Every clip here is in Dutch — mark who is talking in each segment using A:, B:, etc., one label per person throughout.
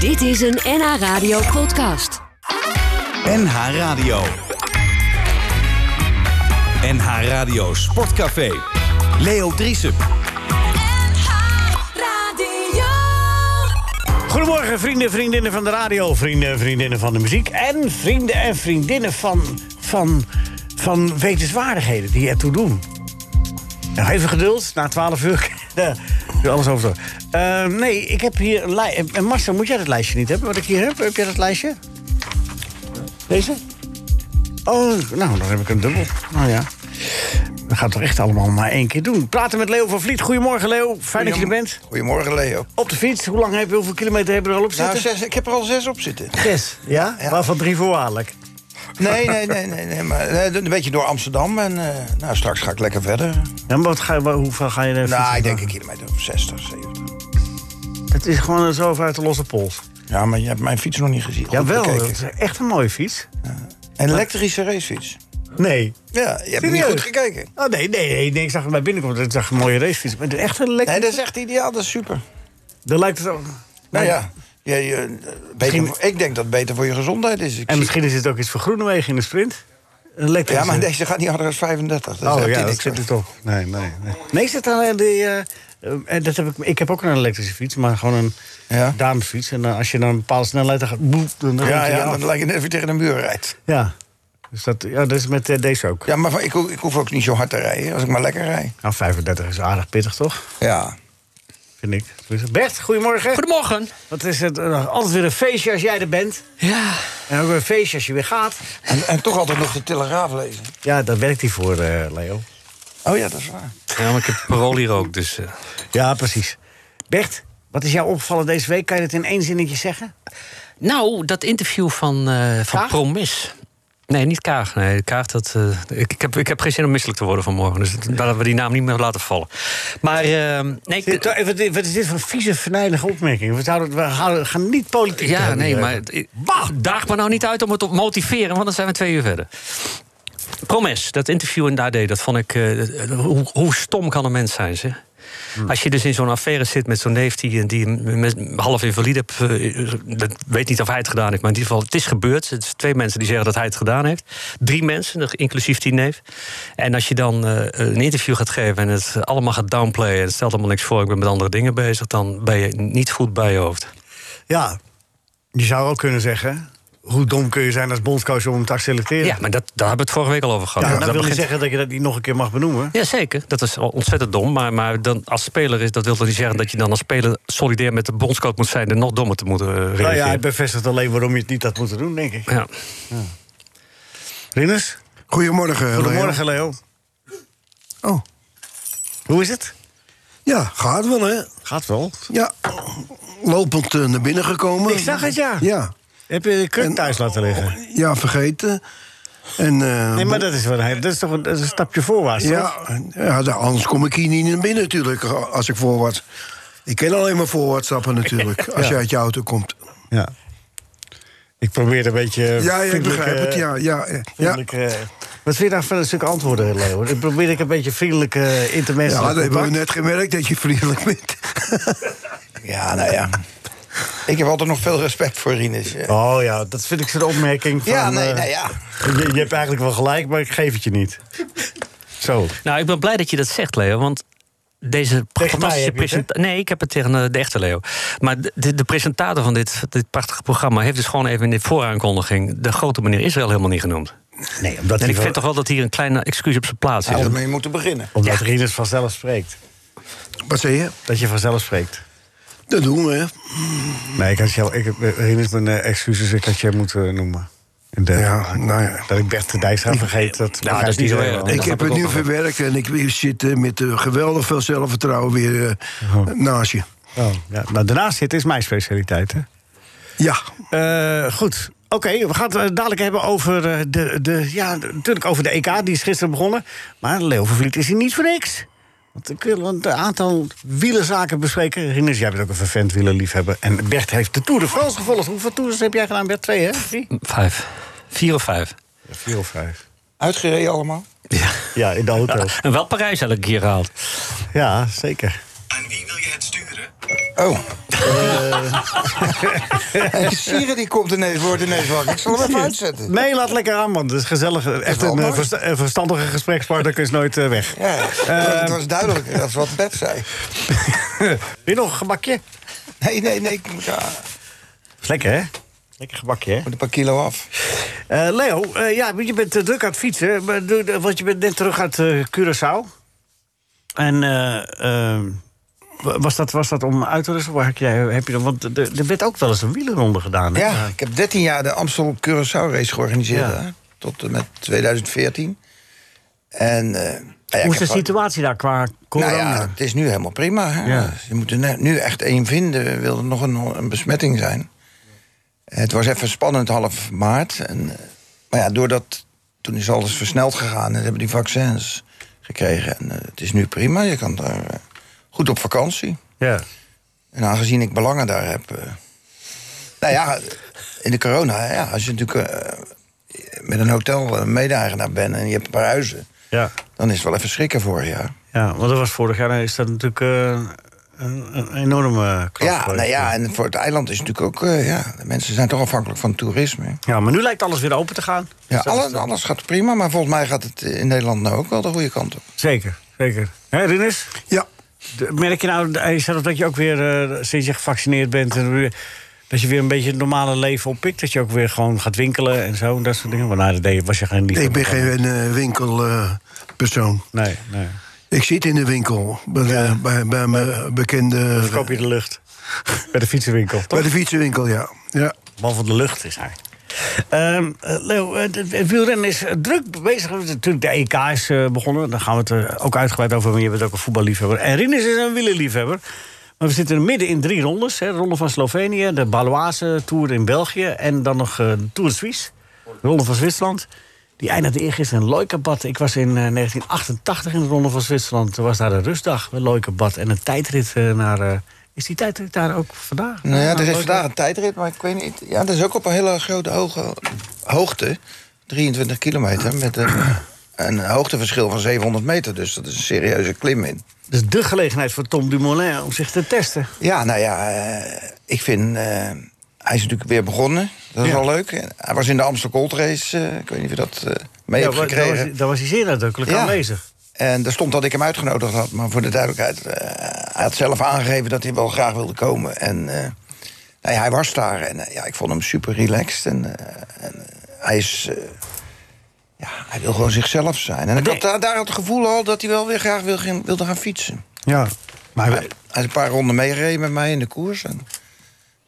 A: Dit is een NH Radio podcast.
B: NH Radio. NH Radio Sportcafé. Leo Driessen.
C: Radio.
D: Goedemorgen, vrienden en vriendinnen van de radio, vrienden en vriendinnen van de muziek... en vrienden en vriendinnen van, van, van wetenswaardigheden die ertoe doen. Nou, even geduld, na 12 uur eh, is alles over. Eh, nee, ik heb hier een lijstje. En Marcel, moet jij dat lijstje niet hebben wat ik hier heb? Heb jij dat lijstje? Deze? Oh, nou, dan heb ik een dubbel. Nou ja. Dat gaat toch echt allemaal maar één keer doen. Praten met Leo van Vliet. Goedemorgen, Leo. Fijn dat je er bent.
E: Goedemorgen, Leo.
D: Op de fiets. Hoe lang heb je, hoeveel kilometer heb je er al op zitten?
E: Nou, zes, ik heb er al zes op zitten.
D: Zes, ja?
E: Ja.
D: Waarvan drie voorwaardelijk.
E: Nee, nee, nee, nee, nee maar eh, een beetje door Amsterdam. En eh, nou, straks ga ik lekker verder.
D: Ja, maar wat ga je, waar- hoeveel ga je er
E: Nou,
D: fietsen?
E: ik denk een kilometer of 60, 70.
D: Het is gewoon zo uit de losse pols.
E: Ja, maar je hebt mijn fiets nog niet gezien. Goed
D: Jawel,
E: bekeken.
D: dat is echt een mooie fiets.
E: Een elektrische racefiets.
D: Nee.
E: Ja, je hebt niet goed gekeken.
D: Oh, nee, nee, nee, nee, ik zag hem bij binnenkomen. Ik zag een mooie racefiets. Maar het is echt een lekker...
E: Nee, dat is echt ideaal. Dat is super.
D: Dat lijkt het ook...
E: Nou ja, je, je, eh, beter, voor- ik denk dat het beter voor je gezondheid is. Ik
D: En
E: zie-
D: misschien is het ook iets voor Groenewegen in de sprint. Een lekker...
E: Ja, maar deze gaat niet harder dan 35. Dat
D: Oh
E: heeft
D: ja,
E: hij
D: dat
E: niks
D: zit
E: aan.
D: er toch. Nee, nee, nee. Nee, zit daar eh, die... eh, eh, dat heb ik, ik heb ook een elektrische fiets, maar gewoon een
E: Ja.
D: damefiets. En eh, als je naar een bepaalde snelheid dan gaat... boep, dan ramt
E: Ja,
D: hij
E: ja,
D: af.
E: dan lijkt het net of je tegen een muur rijdt.
D: Ja. Dus dat, ja, dat is met eh, deze ook.
E: Ja, maar ik, ho- ik hoef ook niet zo hard te rijden als ik maar lekker rijd.
D: Nou, 35 is aardig pittig, toch?
E: Ja.
D: Vind ik. Bert, goedemorgen.
F: Goedemorgen.
D: Wat is het? eh, Altijd weer een feestje als jij er bent.
F: Ja.
D: En ook weer een feestje als je weer gaat.
E: En, en toch altijd nog de Telegraaf lezen.
D: Ja, daar werkt hij voor, eh, Leo.
E: Oh ja, dat is waar.
F: Ja, maar ik heb parool hier ook, dus... eh,
D: Ja, precies. Bert, wat is jou opgevallen deze week? Kan je het in één zinnetje zeggen?
F: Nou, dat interview van, eh, van
D: Kaag?
F: Promis. Nee, niet Kaag. Nee, Kaag dat, eh, ik, ik, heb, ik heb geen zin om misselijk te worden vanmorgen. Dus dat- laten we die naam niet meer laten vallen. Maar eh, nee,
D: Dit-
F: ik,
D: eh, Wat wat is dit voor vieze, verneinige opmerkingen? We, zouden, we houden- gaan niet politiek
F: ja,
D: doen,
F: nee,
D: eh.
F: maar ik- bah, daag me nou niet uit om het te motiveren, want dan zijn we twee uur verder. Promes, dat interview in de AD, dat vond ik... eh, hoe, hoe stom kan een mens zijn, zeg? Als je dus in zo'n affaire zit met zo'n neef die, die met half invalide... eh, dat weet niet of hij het gedaan heeft, maar in ieder geval, het is gebeurd. Het zijn twee mensen die zeggen dat hij het gedaan heeft. Drie mensen, inclusief die neef. En als je dan eh, een interview gaat geven en het allemaal gaat downplayen... het stelt allemaal niks voor, ik ben met andere dingen bezig... dan ben je niet goed bij je hoofd.
D: Ja, je zou ook kunnen zeggen... hoe dom kun je zijn als bondscoach om hem te selecteren?
F: Ja, maar dat, daar hebben we het vorige week al over gehad.
D: Ja,
F: Dat
D: dat wil niet
F: begint-
D: zeggen dat je dat niet nog een keer mag benoemen.
F: Ja, zeker. Dat is al ontzettend dom. Maar, maar dan, als speler is, dat wil toch niet zeggen dat je dan als speler solidair met de bondscoach moet zijn en nog dommer te moeten eh,
D: Nou ja,
F: reageren.
D: hij bevestigt alleen waarom je het niet had moeten doen, denk ik.
F: ja.
D: Rinus,
G: Goedemorgen, Leo.
D: goedemorgen Leo.
G: Oh,
D: Hoe is het?
G: ja, gaat wel, hè?
D: Gaat wel.
G: Ja, lopend eh, naar binnen gekomen.
D: Ik zag het, ja.
G: Ja,
D: Heb je de kruk
G: En-
D: thuis laten liggen?
G: ja vergeten. En, eh,
D: Oh, Nee, maar dat is, wel, een hele- dat is toch een, dat is een stapje voorwaarts, toch?
G: ja, ja, da- anders kom ik hier niet naar binnen natuurlijk, als ik voorwaarts... Ik ken alleen maar voorwaarts stappen natuurlijk, als je uit je auto komt.
D: Ja. Ik probeer een beetje... eh,
G: Ja, ja ik
D: vriendelijk,
G: begrijp het,
D: eh,
G: ja. ja, eh, ja.
D: vriendelijk, eh, Wat vind je daar van een stuk antwoorden, Leo? Ik probeer ik een beetje vriendelijk eh intermenselijk
G: Ja, dat hebben we
D: contact.
G: net gemerkt, dat je vriendelijk bent.
E: Ja, nou ja. Ik heb altijd nog veel respect voor Rinus. eh.
D: Oh ja, dat vind ik zo'n opmerking van...
E: Ja, nee,
D: eh,
E: nou ja.
D: je, je hebt eigenlijk wel gelijk, maar ik geef het je niet. Zo.
F: Nou, ik ben blij dat je dat zegt, Leo. Want deze
D: mij
F: fantastische
D: heb je het, hè?
F: presentatie. Nee, ik heb het tegen eh, de echte Leo. Maar de, de presentator van dit, dit prachtige programma heeft dus gewoon even in de vooraankondiging de grote meneer Israël helemaal niet genoemd.
D: Nee, omdat
F: En
D: hij
F: ik
D: wel-
F: vind toch wel dat hier een kleine excuus op zijn plaats is.
E: Hadden we mee moeten beginnen.
D: Omdat Rinus vanzelf spreekt.
G: Wat zei je?
D: Dat je vanzelf spreekt.
G: Dat doen we, hè.
D: Nee, ik had jou, ik, eh, Rinus, mijn eh, excuses, ik had je moeten eh, noemen. En dat-
G: Ja, nou ja.
D: Dat ik Bert de Dijkstra vergeet, dat, begrijpt
F: is niet zo
D: iedereen
F: erg.
D: wel.
F: Nee.
G: Ik
F: dat
G: heb
F: snap ik
G: het
F: ook
G: nu
F: nog wel.
G: verwerkt en ik zit eh, met eh, geweldig veel zelfvertrouwen weer eh, naast je.
D: Oh, ja. Nou, daarnaast zitten is mijn specialiteit, hè?
G: Ja,
D: Eh, goed. Oké, we gaan het eh, dadelijk hebben over eh, de, de... Ja, de- natuurlijk over de EK, die is gisteren begonnen. Maar Leo van Vliet is hier niet voor niks. Want ik wil een aantal wielerzaken bespreken. Rinus, jij bent ook een vervent wielerliefhebber. En Bert heeft de Tour de France gevolgd. Hoeveel tours heb jij gedaan, Bert? Twee, hè? Drie?
F: Vijf. Vier of vijf.
D: Vier of vijf.
E: Uitgereden allemaal.
F: Ja.
D: Ja, in de hotel.
F: En wel Parijs elke keer gehaald.
D: Ja, zeker.
E: Oh, En Sieren die komt ineens, wordt ineens wakker. Ik zal hem even uitzetten.
D: Nee, laat lekker aan, want het is gezellig. Echt
E: wel
D: een, eh,
E: mooi.
D: versta- een verstandige gesprekspartner is nooit eh, weg.
E: Ja, het
D: Ehm.
E: was duidelijk dat is wat Bert zei.
D: Wil je nog een gebakje?
E: Nee, nee, nee. Ik moet ja,
D: Is lekker, hè? Lekker gebakje, hè?
E: moet een paar kilo af.
D: Eh, Leo, eh, ja, je bent eh, druk aan het fietsen, maar doe- eh, want je bent net terug uit eh, Curaçao. En eh, eh, wa- was, dat, was dat om uit te rusten? Waar heb jij, heb je dan, want er er werd ook wel eens een wielerronde gedaan. Hè?
E: Ja, ik heb 13 jaar de Amstel Curaçao race georganiseerd.
D: Ja.
E: hè, Tot en met 2014. En, eh, nou ja, ik
D: Hoe is
E: heb
D: de
E: gewoon-
D: situatie daar qua corona?
E: Nou ja, het is nu helemaal prima. Hè?
D: Ja.
E: Je moet er ne- nu echt één vinden. Wil er nog een, een besmetting zijn? Het was even spannend half maart. En, eh, maar ja, doordat, toen is alles versneld gegaan. En hebben die vaccins gekregen. En eh, het is nu prima. Je kan daar eh, goed op vakantie.
D: Ja.
E: En aangezien ik belangen daar heb... eh, nou ja, in de corona, ja, als je natuurlijk eh, met een hotel eh, mede-eigenaar bent... en je hebt een paar huizen,
D: Ja.
E: dan is het wel even schrikken vorig jaar.
D: ja, want dat was vorig jaar, is dat natuurlijk eh, een, een enorme klap.
E: Ja,
D: geweest.
E: nou ja, en voor het eiland is het natuurlijk ook... eh, ja, de mensen zijn toch afhankelijk van toerisme.
D: Ja, maar nu lijkt alles weer open te gaan. Dus
E: Ja,
D: dat is
E: alles,
D: dan-
E: alles gaat prima, maar volgens mij gaat het in Nederland nou ook wel de goede kant op.
D: Zeker, zeker. Hé, Rinus?
G: Ja,
D: De- Merk je nou eh, zelf dat je ook weer, eh, sinds je gevaccineerd bent... En weer- dat je weer een beetje het normale leven oppikt? Dat je ook weer gewoon gaat winkelen en zo en dat soort dingen? Want nou, dat deed- was je geen liefde.
G: ik ben geen eh, winkelpersoon.
D: Nee, nee.
G: ik zit in de winkel bij, eh, bij, bij mijn bekende...
D: Verkoop je de lucht. Bij de fietsenwinkel, toch?
G: Bij de fietsenwinkel, ja. ja.
D: Man van de lucht is hij. Ehm, eh, Leo, eh, het het wielrennen is eh, druk bezig. Natuurlijk, de EK is eh, begonnen. Daar gaan we het eh, ook uitgebreid over hebben. Je bent ook een voetballiefhebber. En Rinus is een wielerliefhebber. Maar we zitten midden in drie rondes. Hè. De Ronde van Slovenië, de Baloise Tour in België... en dan nog eh, de Tour de Suisse, de Ronde van Zwitserland. Die eindigde eergisteren in Loikabad. Ik was in eh, 1988 in de Ronde van Zwitserland. Toen was daar een rustdag bij Loikabad en een tijdrit eh, naar... eh, is die tijdrit daar ook vandaag?
E: Nou ja,
D: Naar
E: er is
D: Loikabad?
E: vandaag een tijdrit, maar ik weet niet... Ja, dat is ook op een hele grote hoge, hoogte, 23 kilometer... met een, een hoogteverschil van 700 meter, dus dat is een serieuze klim in.
D: Dus de gelegenheid voor Tom Dumoulin om zich te testen.
E: Ja, nou ja, eh, ik vind... eh, hij is natuurlijk weer begonnen, dat is
D: Ja.
E: wel leuk. Hij was in de Amsterdam Gold Race, eh, ik weet niet of je dat eh, mee
D: Ja,
E: hebt
D: wa-
E: gekregen.
D: daar, was, daar was hij zeer nadrukkelijk
E: Ja.
D: aanwezig.
E: En daar stond dat ik hem uitgenodigd had, maar voor de duidelijkheid... eh, hij had zelf aangegeven dat hij wel graag wilde komen. En eh, nou ja, hij was daar en eh, ja, ik vond hem super relaxed. En, eh, en, eh, hij is... eh, ja, hij wil gewoon zichzelf zijn. En ik had daar, daar het gevoel al dat hij wel weer graag wil gaan- wilde gaan fietsen.
D: Ja, maar
E: Hij hij is een paar ronden meegereden met mij in de koers. En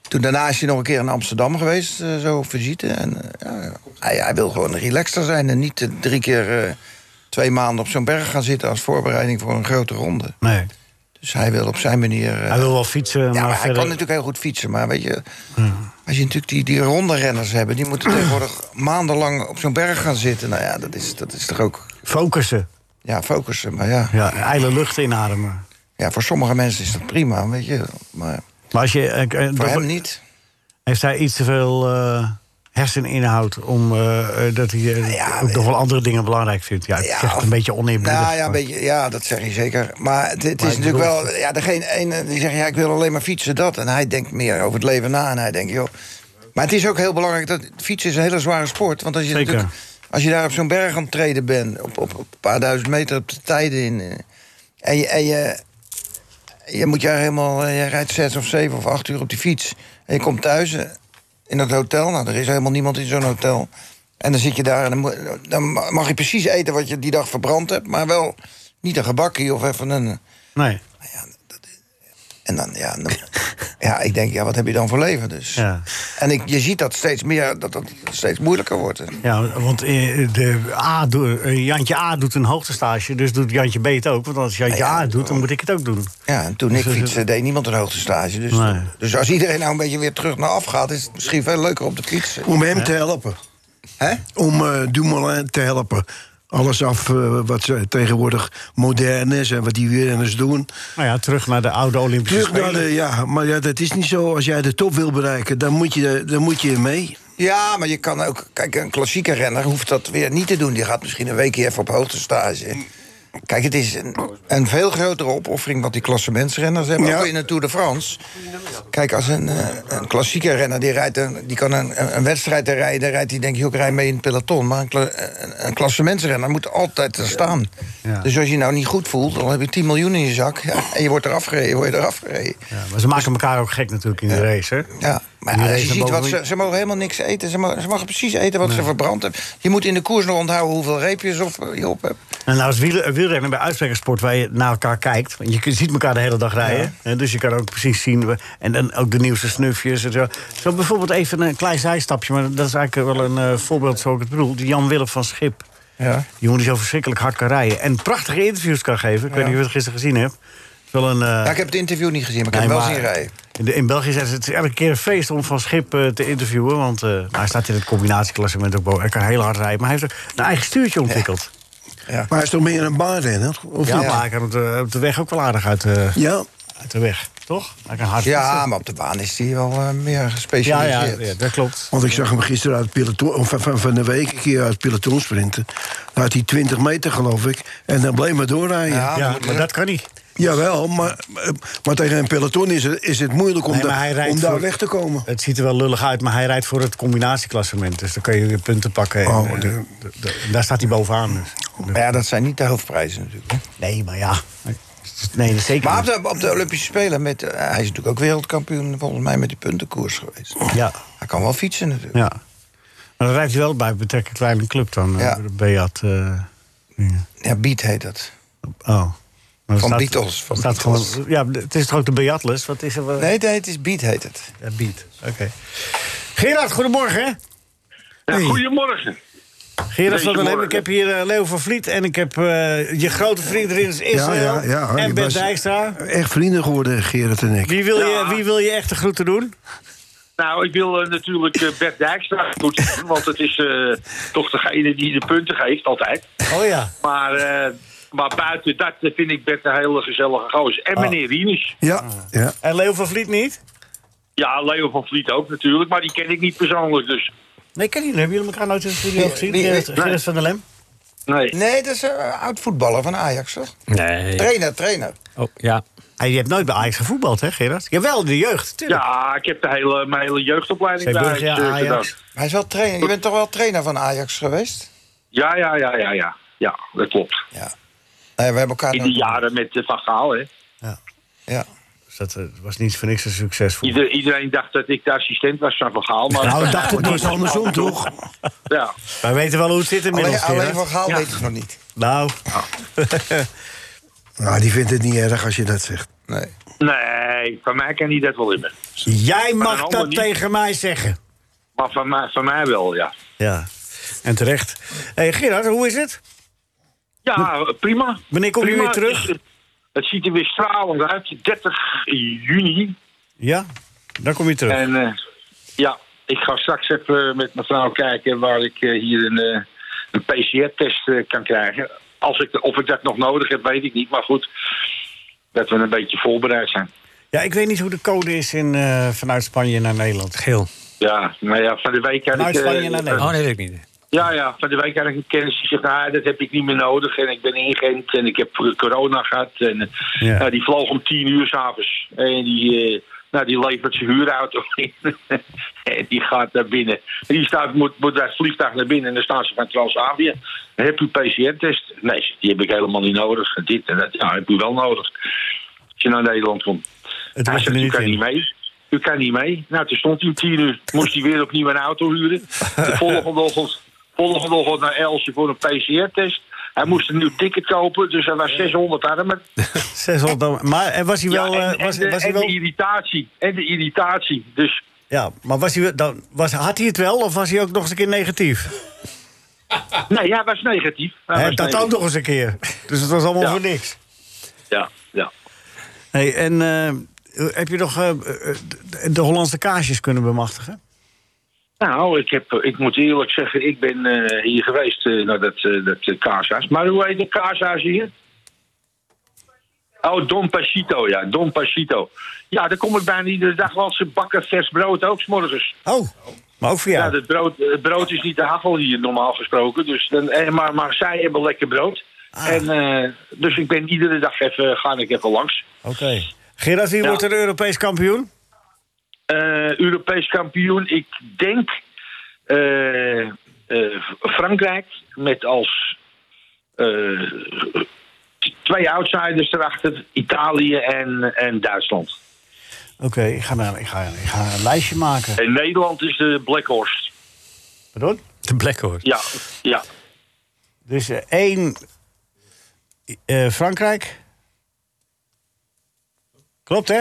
E: toen daarna is hij nog een keer in Amsterdam geweest, eh, zo op visite. En, eh, ja, hij, hij wil gewoon relaxter zijn en niet eh, drie keer eh, twee maanden op zo'n berg gaan zitten... als voorbereiding voor een grote ronde.
D: nee.
E: Dus hij wil op zijn manier... eh,
D: hij wil wel fietsen, maar,
E: ja, maar hij
D: verder... Hmm.
E: kan natuurlijk heel goed fietsen, maar weet je... Als je natuurlijk die, die ronde renners hebt... die moeten tegenwoordig maandenlang op zo'n berg gaan zitten. Nou ja, dat is, dat is toch ook...
D: focussen.
E: Ja, focussen, maar ja.
D: Ja, ijle lucht inademen.
E: ja. Voor sommige mensen is dat prima, weet je. Maar
D: Maar als je, eh, eh,
E: voor
D: dat-
E: hem niet.
D: heeft hij iets te veel eh, herseninhoud... om eh, eh, dat hij eh,
E: Ja,
D: ook
E: eh,
D: nog wel andere dingen belangrijk vindt? Ja, ik
E: ja,
D: zeg het
E: of-
D: een beetje oneerbiedig.
E: Nou ja, een
D: maar-
E: beetje, ja, dat zeg je zeker. Maar het, het is
D: ik
E: natuurlijk
D: bedoel-
E: wel... Ja, degene ene die zegt, ja, ik wil alleen maar fietsen, dat. En hij denkt meer over het leven na. En hij denkt, joh... Maar het is ook heel belangrijk dat... Fietsen is een hele zware sport. Want als je,
D: Zeker.
E: natuurlijk, als je daar op zo'n berg aan het treden bent... Op, op, op een paar duizend meter op de tijden in... eh, En je... En je je moet daar helemaal, eh, je rijdt zes of zeven of acht uur op die fiets. En je komt thuis eh, in dat hotel. Nou, er is helemaal niemand in zo'n hotel. En dan zit je daar en dan, moet- dan mag je precies eten wat je die dag verbrand hebt. Maar wel niet een gebakkie of even een...
D: Nee,
E: En dan, ja, dan- ja, ik denk, ja, wat heb je dan voor leven dus?
D: ja.
E: En ik, je ziet dat steeds meer, dat dat steeds moeilijker wordt. hè.
D: Ja, want eh, de A doe- eh, Jantje A doet een hoogtestage, dus doet Jantje B het ook. Want als Jantje
E: Ja, oh. ja,
D: A het doet, dan moet ik het ook doen.
E: Ja, en toen ik fietste, deed niemand een hoogtestage. Dus,
D: Nee.
E: dus als iedereen nou een beetje weer terug naar af gaat... is het misschien veel leuker op de fiets.
G: Om hem te helpen.
E: Hè?
G: Om eh Dumoulin te helpen. Alles af eh, wat ze tegenwoordig modern is en wat die wielrenners doen.
D: Nou ja, terug naar de oude Olympische
G: Terug naar
D: Spelen.
G: de, ja, maar ja, dat is niet zo. Als jij de top wil bereiken, dan moet je, dan moet je mee.
E: Ja, maar je kan ook... Kijk, een klassieke renner hoeft dat weer niet te doen. Die gaat misschien een weekje even op hoogtestage. Kijk, het is een, een veel grotere opoffering wat die klassementsrenners hebben.
G: Ja.
E: Ook in de Tour de France. Kijk, als een, eh, een klassieke renner die, rijdt een, die kan een, een- een wedstrijd er rijden, dan rijdt hij denk ik ook rij mee in het peloton. Maar een, kla- een, een klassementsrenner moet altijd er staan.
D: Ja.
E: Dus als je je nou niet goed voelt, dan heb je 10 miljoen in je zak. Ja, en je wordt eraf gereden, word je eraf gereden. Ja.
D: maar ze maken elkaar ook gek natuurlijk in de race, hè?
E: maar
D: En die
E: als je
D: race
E: ziet wat ze,
D: bovendien-
E: ze mogen helemaal niks eten. Ze mogen, ze mogen precies eten wat ze verbrand hebben. Je moet in de koers nog onthouden hoeveel reepjes of eh, je op hebt.
D: En nou is wiel, wielrennen bij uitstek een sport waar je naar elkaar kijkt. Want je k- ziet elkaar de hele dag rijden. hè, dus je kan ook precies zien. we- En dan ook de nieuwste snufjes en zo. Zo bijvoorbeeld even een klein zijstapje. Maar dat is eigenlijk wel een eh, voorbeeld zoals ik het bedoel. Die Jan Willem van Schip.
E: Ja.
D: Die jongen die zo verschrikkelijk hard kan rijden. En prachtige interviews kan geven. Ik weet niet of je het gisteren gezien hebt. Het is wel een... eh,
E: Ja, ik heb het interview niet gezien, maar ik
D: nee,
E: heb hem wel
D: maar
E: zien rijden.
D: In, de- in België zijn ze het is elke keer een feest om van Schip eh, te interviewen. Want eh, hij staat in het combinatieklassement ook boven. Hij kan heel hard rijden. Maar hij heeft ook een eigen stuurtje ontwikkeld.
G: Maar hij is toch meer een baanrenner? Of
D: Ja,
G: niet?
D: maar hij kan op de, op de weg ook wel aardig uit, eh,
G: Ja,
D: uit de weg, toch? Hij kan hard
E: Ja,
D: fietsen.
E: maar op de baan is hij wel eh, meer
D: ja, ja,
E: gespecialiseerd.
D: ja, dat klopt.
G: want ik zag hem gisteren uit het peloton, of van, van, van de week een keer uit het peloton sprinten. Dan had hij 20 meter, geloof ik. En dan bleef maar doorrijden.
E: Ja.
D: Ja,
E: moet
D: maar
E: je-
D: dat kan niet.
G: Jawel, maar, maar tegen een peloton is het, is het moeilijk om,
D: Nee,
G: da-
D: maar hij rijdt
G: om daar
D: voor-
G: weg te komen.
D: Het ziet er wel lullig uit, maar hij rijdt voor het combinatieklassement. Dus dan kan je weer punten pakken. En,
G: Oh,
D: eh, de- de- de- daar staat hij bovenaan. Dus.
E: Maar ja, dat zijn niet de hoofdprijzen natuurlijk. hè.
D: Nee, maar ja. Nee, dat is zeker
E: Maar op
D: niet.
E: de, op de Olympische Spelen, met, eh, hij is natuurlijk ook wereldkampioen volgens mij met die puntenkoers geweest.
D: Ja.
E: Hij kan wel fietsen natuurlijk.
D: ja. Maar dan rijdt hij wel bij betrekkelijk kleine club dan.
E: Ja.
D: Ja. Beat. eh, dingen.
E: Ja, Beat heet dat.
D: oh. Maar er
E: Van Beatles, van
D: staat
E: Beatles.
D: Gewoon, ja, het is toch ook de Beatles? Wat is er? wel-
E: Nee, nee, het is Beat heet het.
D: Ja, Beat. Oké. Gerard, goedemorgen.
C: Ja,
D: Hey.
C: goedemorgen.
D: Gerard van der Leem,
C: Goedemorgen.
D: ik heb hier eh, Leo van Vliet en ik heb eh, je grote vriend erin, is Israël en
G: je
D: Ben
G: was
D: Dijkstra.
G: Echt vrienden geworden, Gerrit en ik.
D: Wie wil,
C: Ja.
D: je, wie wil je echt de groeten doen?
C: Nou, ik wil eh, natuurlijk eh, Bert Dijkstra goed doen, want het is eh, toch degene die de punten geeft, altijd.
D: Oh ja.
C: Maar, eh, maar buiten dat eh, vind ik Bert een hele gezellige gozer.
D: Ah.
C: En meneer Rienus.
G: Ja, ja.
D: En Leo van Vliet niet?
C: Ja, Leo van Vliet ook natuurlijk, maar die ken ik niet persoonlijk, dus...
D: Nee, ik ken niet. Hebben jullie elkaar nooit in de studio gezien?
E: wie-
D: Gerard,
E: nee.
D: Gerard van der Lem?
C: Nee.
E: Nee, dat is een eh, oud voetballer van Ajax, toch?
F: Nee.
E: Trainer, trainer.
F: Oh, ja.
D: Hey, je hebt nooit bij Ajax gevoetbald, hè Gerard? Jawel, in de jeugd, tuurlijk.
C: Ja, ik heb de hele, mijn hele jeugdopleiding
D: Zeeburg,
C: daar
D: ah, ja,
C: eh,
D: Ajax.
C: gedaan.
E: Hij is wel trainer. Je bent toch wel trainer van Ajax geweest?
C: Ja, ja, ja, ja, ja. Ja, dat klopt.
E: Ja. Nee, we hebben elkaar
C: In
E: nog-
C: die jaren met eh, Van Gaal, hè.
E: Ja.
D: Dus dat eh, was niet voor niks een succesvol.
C: Ieder- iedereen dacht dat ik de assistent was van Van Gaal, maar... eh,
D: Nou, ik dacht het
G: Het
D: niet.
G: was andersom, toch?
C: Ja.
D: Wij weten wel hoe het zit inmiddels,
E: Alleen, alleen
D: Gerard.
E: van Gaal weet het nog niet.
D: Nou,
G: Nou, die vindt het niet erg als je dat zegt.
E: Nee.
C: Nee, van mij kan hij dat wel hebben.
D: jij
C: Maar
D: mag
C: een
D: dat
C: ander niet.
D: tegen mij zeggen.
C: Maar van mij, van mij wel, ja.
D: Ja, en terecht. Hey, Gerard, hoe is het?
C: Ja, prima.
D: Wanneer kom je
C: Prima.
D: weer terug?
C: Het, het ziet er weer stralend uit. 30 juni.
D: Ja, daar kom je terug.
C: En eh, ja, ik ga straks even eh, met mijn vrouw kijken waar ik eh, hier een, eh, een PCR-test eh, kan krijgen. Als ik, of ik dat nog nodig heb, weet ik niet. Maar goed, dat we een beetje voorbereid zijn.
D: Ja, ik weet niet hoe de code is in, eh, vanuit Spanje naar Nederland.
F: Geel.
C: Ja, maar ja, van de week had
D: Vanuit
C: ik... eh,
D: Spanje naar Nederland.
F: Oh, nee, weet ik niet.
C: Ja, ja, van de week had ik een kennis die zegt, nou, dat heb ik niet meer nodig. En ik ben ingeënt en ik heb eh, corona gehad. En eh,
D: Ja.
C: nou, die vloog om tien uur s'avonds. En die, eh, nou, die levert zijn huurauto in. en die gaat naar binnen. En die staat, moet, moet naar het vliegtuig naar binnen en dan staan ze van Transavia. Heb u PCR-test? Nee, zegt, die heb ik helemaal niet nodig. En Dit en dat, ja, heb u wel nodig. Als je naar Nederland komt.
D: Het
C: Hij
D: was er
C: zegt, u
D: niet
C: kan niet
D: in.
C: mee. U kan niet mee. Nou, toen stond hij om tien uur. Moest hij weer opnieuw een auto huren. De volgende ochtend, volgende ochtend naar Elsje voor een PCR-test. Hij moest een nieuw ticket kopen, dus hij was 600 armen.
D: 600 dollar. Maar eh, was hij
C: Ja,
D: wel... eh,
C: en, en
D: was,
C: de,
D: was hij
C: en de
D: wel
C: irritatie. En de irritatie. Dus
D: ja, maar was hij, wel- dan, was, had hij het wel of was hij ook nog eens een keer negatief?
C: nee, hij was negatief. Hij
D: Hè,
C: was
D: dat ook
C: negatief.
D: nog eens een keer. Dus het was allemaal
C: Ja.
D: voor niks.
C: Ja, ja.
D: Hey, en eh, heb je nog eh, eh, de- de Hollandse kaasjes kunnen bemachtigen?
C: Nou, ik, heb, ik moet eerlijk zeggen, ik ben eh, hier geweest eh, naar dat, eh, dat eh, kaashuis. Maar hoe heet het kaashuis hier? Oh, Don Pachito, ja, Don Pachito. Ja, daar kom ik bijna iedere dag, want ze bakken vers brood ook s'morgens.
D: Oh, maar ook voor
C: Ja,
D: jou.
C: het, brood, het brood is niet te haggel hier normaal gesproken. Dus dan, eh, maar, maar zij hebben lekker brood. En, eh, dus ik ben iedere dag even, ga ik even langs.
D: Oké. Gerard, wie
C: Ja.
D: wordt er Europees kampioen?
C: Eh, Europees kampioen, ik denk eh, eh, Frankrijk met als eh, twee outsiders erachter, Italië en, en Duitsland.
D: Oké, ik, ga naar- ik, ga, ik ga een lijstje maken.
C: En Nederland is de Black Horse.
D: Pardon?
F: De Black Horse.
C: Ja, ja.
D: Dus eh, één eh, Frankrijk. Klopt, hè?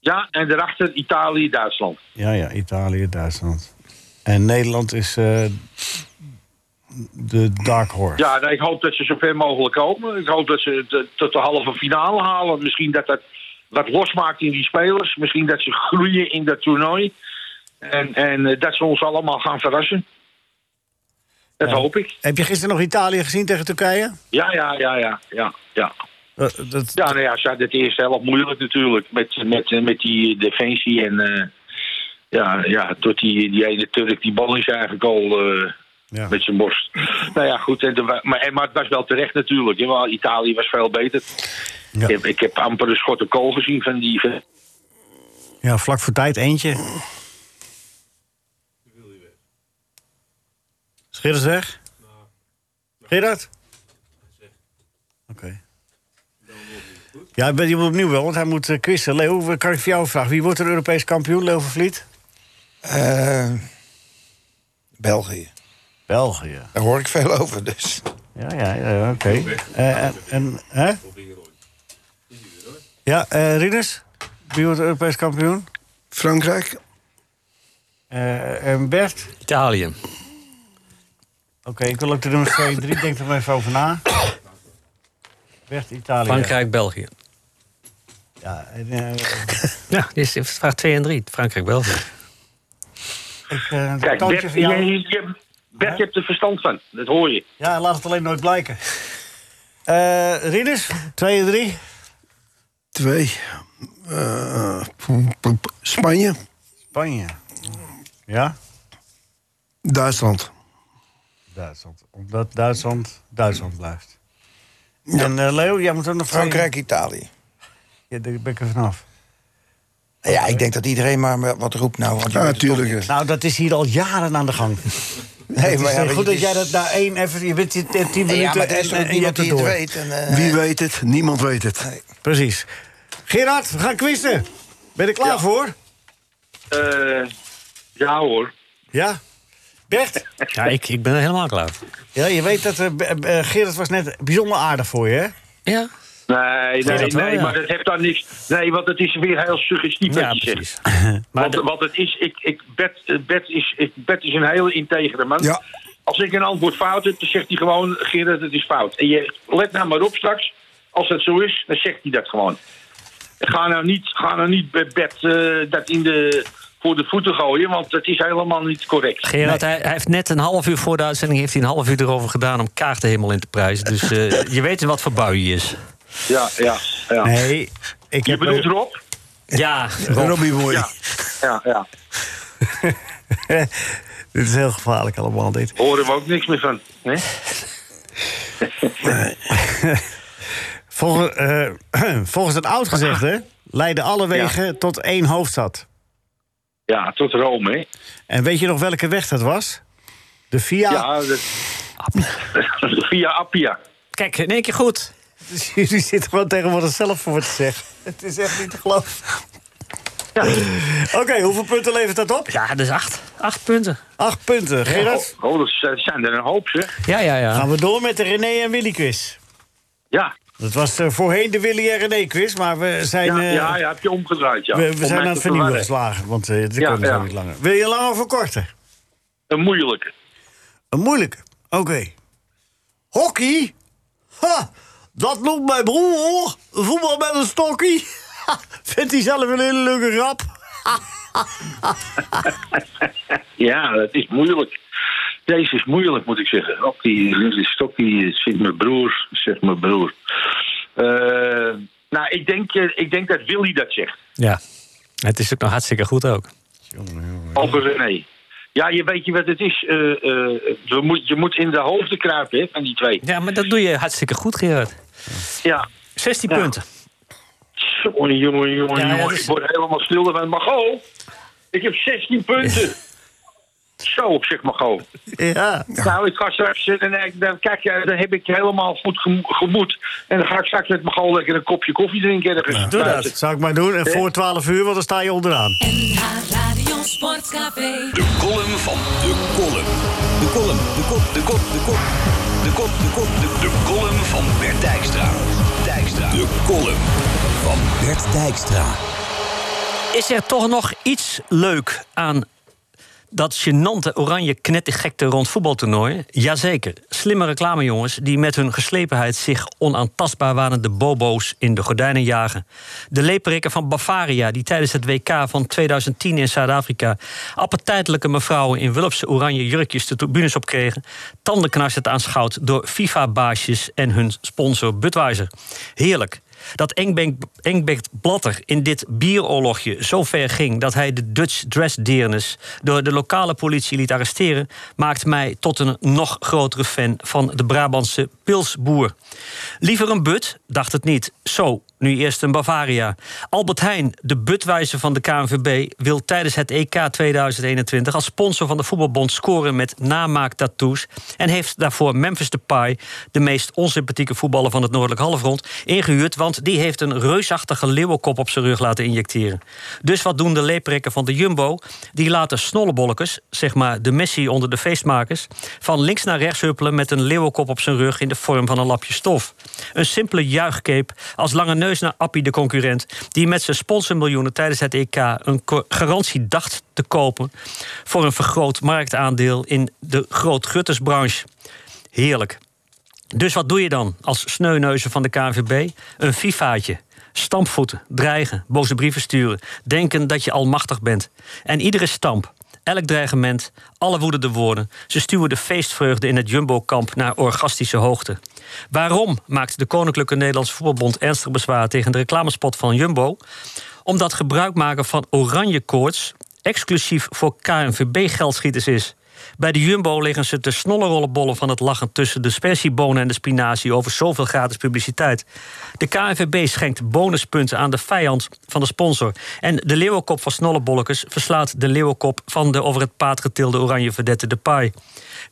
C: ja, en daarachter Italië, Duitsland.
D: Ja, ja, Italië, Duitsland. En Nederland is eh, de dark horse.
C: Ja, nou, ik hoop dat ze zo ver mogelijk komen. Ik hoop dat ze het tot de halve finale halen. Misschien dat dat wat losmaakt in die spelers. Misschien dat ze groeien in dat toernooi. En, en eh, dat ze ons allemaal gaan verrassen. Dat hoop ik.
D: Heb je gisteren nog Italië gezien tegen Turkije?
C: Ja, ja, ja, ja, ja, ja.
D: Eh, dat,
C: Ja, nou ja, ze hadden het eerste helft moeilijk natuurlijk. Met, met, met die defensie en... eh, ja, ja, tot die, die ene Turk die bal is eigenlijk al... eh,
D: ja.
C: Met zijn borst. Nou ja, goed. En de, wa- maar, en- maar het was wel terecht natuurlijk. hè, want Italië was veel beter.
D: Ja.
C: Ik, heb, ik heb amper een schot op kool gezien van die... van-
D: ja, vlak voor tijd eentje. Is Gerard weg? Gerard? Oké. Ja, ben je moet opnieuw wel, want hij moet eh, quizzen. Leo, kan ik voor jou vragen? Wie wordt er Europees kampioen, Leo van Vliet?
E: Eh, België.
D: België.
E: Daar hoor ik veel over, dus.
D: Ja, ja, ja oké. Eh, en- en, hè? Ja, eh Rinus, wie wordt Europees kampioen?
G: Frankrijk,
D: Eh, en Bert?
F: Italië.
D: Oké, ik wil ook de nummers 2 en 3. Denk er maar even over na. Bert, Italië.
F: Frankrijk, België.
D: Ja, en, eh,
F: Ja, dit is vraag 2 en 3. Frankrijk, België.
D: ik, eh, het
C: Kijk,
D: toontje
C: Bert,
D: van jou-
C: je, je- Bert je hebt er verstand van. Dat hoor je.
D: Ja, laat het alleen nooit blijken. Eh Rinus, 2 en 3.
G: twee. Eh, poem, poem, Spanje,
D: Spanje. Ja,
G: Duitsland.
D: Duitsland. Omdat Duitsland Duitsland blijft.
G: Ja.
D: En eh, Leo, jij moet ook nog twee-
E: Frankrijk, Italië.
D: Ja, daar ben ik er vanaf.
E: Ja, ik denk dat iedereen maar wat roept nou. Want je
G: Ja,
E: weet het toch
G: natuurlijk.
D: Nou, dat is hier al jaren aan de gang. eh,
E: niet. Nee, maar ja, weet je,
D: goed
E: het
D: dat jij
E: is-
D: dat na één even... Je bent dit- dit tien minuten
E: Ja, maar er is
D: en- eh,
E: toch
D: en
E: ook
D: je hebt
E: niemand
D: het
E: die het
D: door.
E: weet. En, eh,
G: Wie weet het? Niemand weet het.
D: Precies. Gerard, we gaan quizzen. Ben je er klaar
C: Ja.
D: voor?
C: Eh, ja hoor.
D: Ja? Bert?
F: Ja, ik, ik ben er helemaal klaar voor.
D: Ja, je weet dat... eh, B- eh, Gerard was net bijzonder aardig voor je, hè?
F: Ja,
C: Nee, nee,
F: dat wel,
C: nee.
F: ja.
C: Maar dat heeft dan niks... Nee, want het is weer heel suggestief
F: ja
C: wat je zegt.
F: precies. Maar
C: Want,
F: de-
C: want het is... Ik, ik, Bert, eh, Bert is ik, Bert is een hele integere man.
G: Ja.
C: Als ik een antwoord fout heb, dan zegt hij gewoon... Gerard, het is fout. En je let nou maar op straks. Als dat zo is, dan zegt hij dat gewoon. Ga nou niet, ga nou niet bij Bert eh, dat in de, voor de voeten gooien... want dat is helemaal niet correct.
F: Gerard, hij, hij heeft net een half uur voor de uitzending... heeft hij een half uur erover gedaan om kaart helemaal in te prijzen. Dus eh, je weet wat voor bui je is.
C: Ja, ja, ja.
D: Nee, ik
C: Je
D: heb...
C: bedoelt Rob?
F: Ja,
G: Robbie Boy.
C: Ja. Ja, ja.
D: dit is heel gevaarlijk allemaal, dit.
C: Horen we ook niks meer van. Hè?
D: Volgens, eh, volgens het oud gezegde... leiden alle wegen tot één hoofdstad.
C: Ja, tot Rome, hè?
D: En weet je nog welke weg dat was? De Via...
C: Ja, dat... via Appia.
F: Kijk, in één keer goed.
D: Dus jullie zitten gewoon tegenwoordig zelf voor wat te zeggen. Het is echt niet te geloven. Oké, hoeveel punten levert dat op?
F: Ja, dat is acht. Acht punten.
D: Acht punten. Gerard,
C: Oh, oh, dat z- zijn er een hoop, zeg.
F: Ja, ja, ja.
D: gaan we door met de René en Willy quiz.
C: Ja,
D: Dat was eh, voorheen de Willy en René quiz, maar we zijn,
C: ja,
D: eh,
C: ja, ja, heb je omgedraaid, ja.
D: we, we
C: Om
D: zijn
C: mij
D: aan
C: te
D: het vernieuwen
C: verwarren.
D: geslagen. Want eh dit
C: Ja,
D: kon zo
C: ja.
D: niet langer. Wil je lang of korten?
C: Een moeilijke.
D: Een moeilijke. Oké. Hockey? Ha, dat noemt mijn broer hoor. Voetbal met een stokkie. Ha, Vindt hij zelf een hele leuke grap.
C: Ja, dat is moeilijk. Deze is moeilijk, moet ik zeggen. Op die linker stokkie eh, zit mijn broer, zegt mijn broer. Eh, nou, ik denk, eh, ik denk dat Willy dat zegt.
F: Ja. Het is ook nog hartstikke goed ook.
C: Over René. Ja, je weet je wat het is. Eh, eh, we moet, je moet in de hoofden kruipen hè, van die twee.
F: Ja, maar dat doe je hartstikke goed, Gerard.
C: Ja.
F: 16
C: Ja.
F: punten.
C: Jongen, jongen, jongen,
F: Ja, ja,
C: jongen.
F: dat is-
C: Ik word helemaal stil van. Mago, ik heb 16 punten. Zo op zich, Mago.
D: Ja.
C: Nou, ik ga straks zitten en ik- dan, kijk, eh, dan heb ik helemaal goed gemo- gemoed. En dan ga ik straks met Mago lekker een kopje koffie drinken. ergens.
D: Doe dat. Zal ik maar doen. En voor 12 uur, want dan sta je onderaan.
A: NH Radio Sportcafé.
B: De column van de column. De column, de kop, de kop, de kop. De kop, de kop, de De column van Bert Dijkstra. Dijkstra. De column van Bert Dijkstra.
F: Is er toch nog iets leuk aan dat gênante oranje knettergekte rond voetbaltoernooi? Jazeker. Slimme reclamejongens die met hun geslepenheid zich onaantastbaar waren de bobo's in de gordijnen jagen. De leperikken van Bavaria die tijdens het WK van 2010 in Zuid-Afrika appetijtelijke mevrouwen in Wulpse oranje jurkjes de tribunes opkregen, tandenknarsend aanschouwd door FIFA-baasjes en hun sponsor Budweiser. Heerlijk. Dat Engbenk- Engbert Blatter in dit bieroorlogje zo ver ging dat hij de Dutch Dress Dearness door de lokale politie liet arresteren, maakt mij tot een nog grotere fan van de Brabantse pilsboer. Liever een but, dacht het niet. Zo, nu eerst een Bavaria. Albert Heijn, de butwijzer van de KNVB, wil tijdens het E EK 2021 als sponsor van de voetbalbond scoren met namaaktattoos en heeft daarvoor Memphis Depay, de meest onsympathieke voetballer van het noordelijk halfrond, ingehuurd, want die heeft een reusachtige leeuwenkop op zijn rug laten injecteren. Dus wat doen de leeprekken van de Jumbo? Die laten snollebolkes, zeg maar de Messi onder de feestmakers, van links naar rechts huppelen met een leeuwenkop op zijn rug in de vorm van een lapje stof. Een simpele juichcape als lange neus naar Appie de concurrent, die met zijn sponsormiljoenen tijdens het EK een ko- garantie dacht te kopen voor een vergroot marktaandeel in de grootguttersbranche. Heerlijk. Dus wat doe je dan als sneuneuzen van de KNVB? Een FIFA'tje. Stampvoeten, dreigen, boze brieven sturen, denken dat je almachtig bent. En iedere stamp, elk dreigement, alle woedende woorden... ze stuwen de feestvreugde in het Jumbo-kamp naar orgastische hoogte. Waarom maakt de Koninklijke Nederlandse Voetbalbond ernstig bezwaar... tegen de reclamespot van Jumbo? Omdat gebruik maken van oranje koorts... exclusief voor KNVB-geldschieters is... Bij de Jumbo liggen ze te snollerollenbollen van het lachen tussen de spersiebonen en de spinazie over zoveel gratis publiciteit. De KNVB schenkt bonuspunten aan de vijand van de sponsor. En de leeuwenkop van snollebolletjes verslaat de leeuwenkop van de over het paard getilde oranje verdette de paai.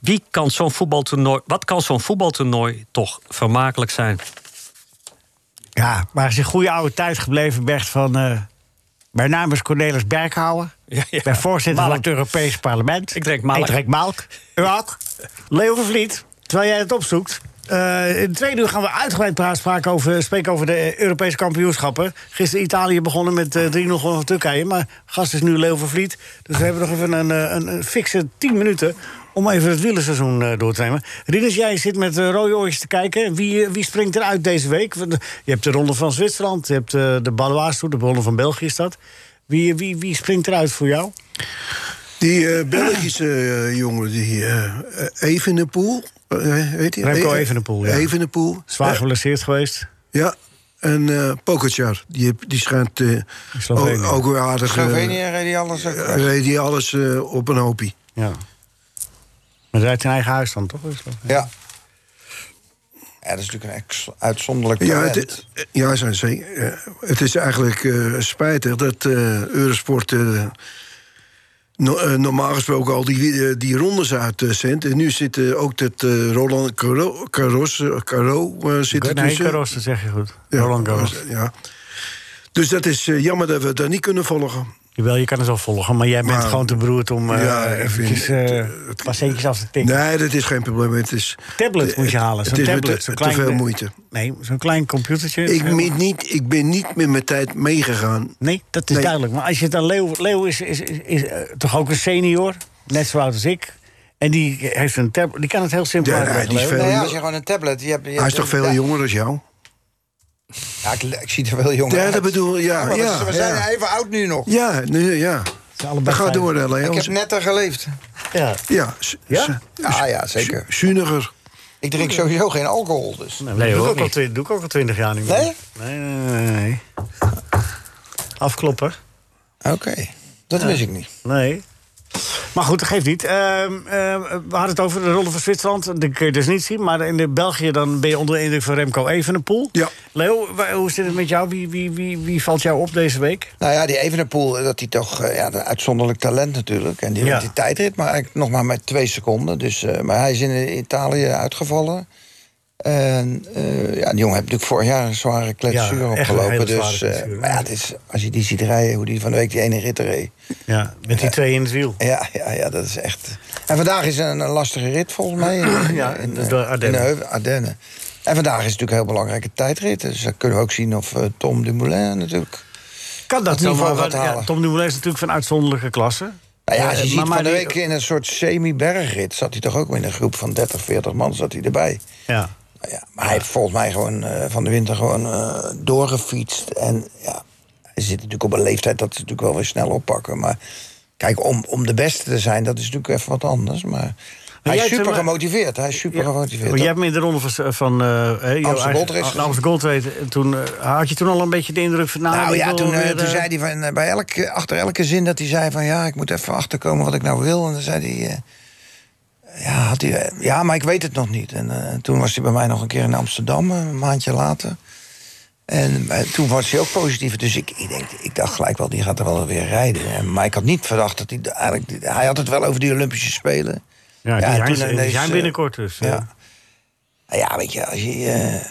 F: Wie kan zo'n voetbaltoernooi, wat kan zo'n voetbaltoernooi toch vermakelijk zijn?
D: Ja, maar is een goede oude thuis gebleven, Bert, van... eh, mijn naam is Cornelis Berghouwer.
F: Ja, ja.
D: Ik ben voorzitter
F: Melk.
D: van het Europees Parlement.
F: Ik drink melk.
D: Ik drink melk. U ook. Leo van Vliet, terwijl jij het opzoekt. Eh, in de tweede uur gaan we uitgebreid praten, spraken over, spreken over de eh, Europese kampioenschappen. Gisteren Italië begonnen met eh, 3-0 van Turkije. Maar gast is nu Leo van Vliet. Dus we hebben nog even een, eh, een, een fikse 10 minuten... om even het wielerseizoen eh, door te nemen. Rinus, jij zit met eh, rode oortjes te kijken. Wie, eh, wie springt eruit deze week? Want, eh, Je hebt de Ronde van Zwitserland, je hebt eh, de Baloise Tour, de Ronde van België is dat. Wie, wie, wie springt eruit voor jou?
G: Die eh, Belgische eh, jongen, die eh Evenepoel, eh, heet hij?
D: Remco Evenepoel, ja.
G: Evenepoel.
D: Zwaar
G: Eh,
D: geblesseerd geweest.
G: ja. En eh Pogacar, die, heb- die schijnt eh,
D: Slovenië.
G: ook, ook weer aardig... eh,
E: Slovenië reed die alles ook. weg.
G: reed hij alles eh, op een hoopie.
D: Ja. Maar hij heeft zijn eigen huis dan, toch?
E: Ja. Ja, dat is natuurlijk een ex- uitzonderlijk
G: Ja,
E: talent.
G: het, ja zijn zeker. eh, Het is eigenlijk eh, spijtig dat eh, Eurosport eh, no- eh, normaal gesproken al die, eh, die rondes uitzendt. En nu zit eh, ook dat eh, Roland Caro, Caros, eh, Caro eh, zit er
D: Nee,
G: tussen.
D: Carros, dat zeg je goed.
G: Ja,
D: Roland Garros.
G: Ja. Dus dat is eh, jammer dat we dat niet kunnen volgen.
D: Jawel, je kan het wel volgen, maar jij bent
G: Maar-
D: gewoon te beroerd om eh
G: Ja, ik
D: eventjes
G: vind-
D: eh,
G: het- het-
D: een paar centjes af te tikken.
G: Nee, dat is geen probleem. Het is,
D: tablet moet je halen,
G: het
D: zo'n
G: is met
D: tablet.
G: te-
D: zo'n
G: te veel moeite.
D: Nee, zo'n klein computertje.
G: ik,
D: Eh,
G: ben niet, ik ben niet met mijn tijd meegegaan.
D: Nee, dat is
G: Nee.
D: duidelijk. Maar als je het aan Leo... Leo is, is, is, is, eh, toch ook een senior, net zo oud als ik. En die, heeft een tablet, die kan het heel simpel
G: Ja,
D: uitleggen,
G: hij is
D: Leo.
G: veel-
E: Nou ja, als je gewoon een tablet... Je hebt, je
G: Hij is
E: hebt-
G: toch veel
E: ja,
G: jonger dan jou?
E: Ja, ik, ik zie er wel jonger
G: Ja,
E: uit.
G: dat bedoel ik. Ja,
E: Maar dat is-
G: ja,
E: we zijn
G: ja.
E: even oud nu nog.
G: Ja, nu, ja.
D: zijn allebei
G: Dat gaat
D: vijf.
G: door, hè, Leo.
E: Ik heb net daar geleefd.
D: Ja.
G: Ja, s-
D: Ja?
G: s-
E: Ja, ja,
G: s-
E: zeker.
G: zuiniger.
E: Ik drink sowieso geen alcohol, dus.
D: Nee,
F: Nee,
D: doe,
F: hoor,
D: ik ook al
F: niet.
D: twin- doe ik ook al twintig jaar niet meer.
E: Nee?
D: Nee, nee, nee, nee. Afkloppen?
E: Oké, dat wist ik niet.
D: Nee. Maar goed, dat geeft niet. Ehm, ehm, we hadden het over de Ronde van Zwitserland. Dat kun je dus niet zien. Maar in de België dan ben je onder de indruk van Remco Evenepoel.
G: Ja.
D: Leo, wa- hoe zit het met jou? Wie, wie, wie, wie valt jou op deze week?
E: Nou ja, die Evenepoel, eh, dat hij toch eh, ja, een uitzonderlijk talent natuurlijk. En die,
D: Ja.
E: die tijdrit, maar eigenlijk nog maar met twee seconden. Dus, eh, maar hij is in Italië uitgevallen. En eh, ja, die jongen heeft natuurlijk vorig jaar een zware kletsuur
D: Ja, echt een hele
E: opgelopen.
D: zware
E: Dus, eh,
D: kletsuur,
E: maar ja,
D: ja.
E: het is, als je die ziet rijden, hoe die van de week die ene rit reed.
D: Ja, met die twee in het wiel.
E: Ja, ja, ja, dat is echt. En vandaag is een, een lastige rit volgens mij. In,
D: Ja,
E: in,
D: de
E: eh,
D: Ardennen.
E: in de heuvel- Ardennen. En vandaag is natuurlijk een heel belangrijke tijdrit. Dus dan kunnen we ook zien of eh, Tom Dumoulin natuurlijk.
D: Kan dat
E: Dat
D: niet?
E: niveau
D: Maar-
E: gaat
D: ja,
E: halen.
D: Tom Dumoulin is natuurlijk van uitzonderlijke klasse.
E: Nou ja, als je
D: Eh,
E: ziet
D: maar- maar
E: van de
D: die-
E: week in een soort semi-bergrit... zat hij toch ook in een groep van 30, 40 man zat hij erbij.
D: Ja.
E: Nou ja, maar hij heeft volgens mij gewoon eh, van de winter gewoon eh, doorgefietst. En ja, hij zit natuurlijk op een leeftijd dat ze natuurlijk wel weer snel oppakken. Maar kijk, om, om de beste te zijn, dat is natuurlijk even wat anders. Maar hij
D: jij
E: is
D: hebt
E: super
D: hem, eh,
E: gemotiveerd. Hij is super gemotiveerd.
D: Maar jij hebt me in de ronde van, van eh, hè, jouw
E: Amsterdam
D: eigen-
E: Gold Race gezien.
D: Amsterdam Gold Race. En Toen, eh, had je toen al een beetje de indruk van... Nou,
E: Nou
D: ik
E: ja,
D: wil
E: toen, eh,
D: weer,
E: toen
D: eh,
E: zei hij van, eh, bij elke, achter elke zin dat hij zei van... ja, ik moet even achterkomen wat ik nou wil. En dan zei hij... eh, ja, had hij, eh, ja, maar ik weet het nog niet. En eh, toen was hij bij mij nog een keer in Amsterdam, eh, een maandje later. En eh, toen was hij ook positief. Dus ik, ik, denk, ik dacht gelijk wel, die gaat er wel weer rijden. En, maar ik had niet verdacht dat hij... de- Eigenlijk, die- hij had het wel over die Olympische Spelen.
D: Ja, die
E: en
D: zijn,
E: toen
D: die
E: ineens,
D: zijn
E: eh,
D: binnenkort dus.
E: ja. Nou ja, weet je, als je, eh,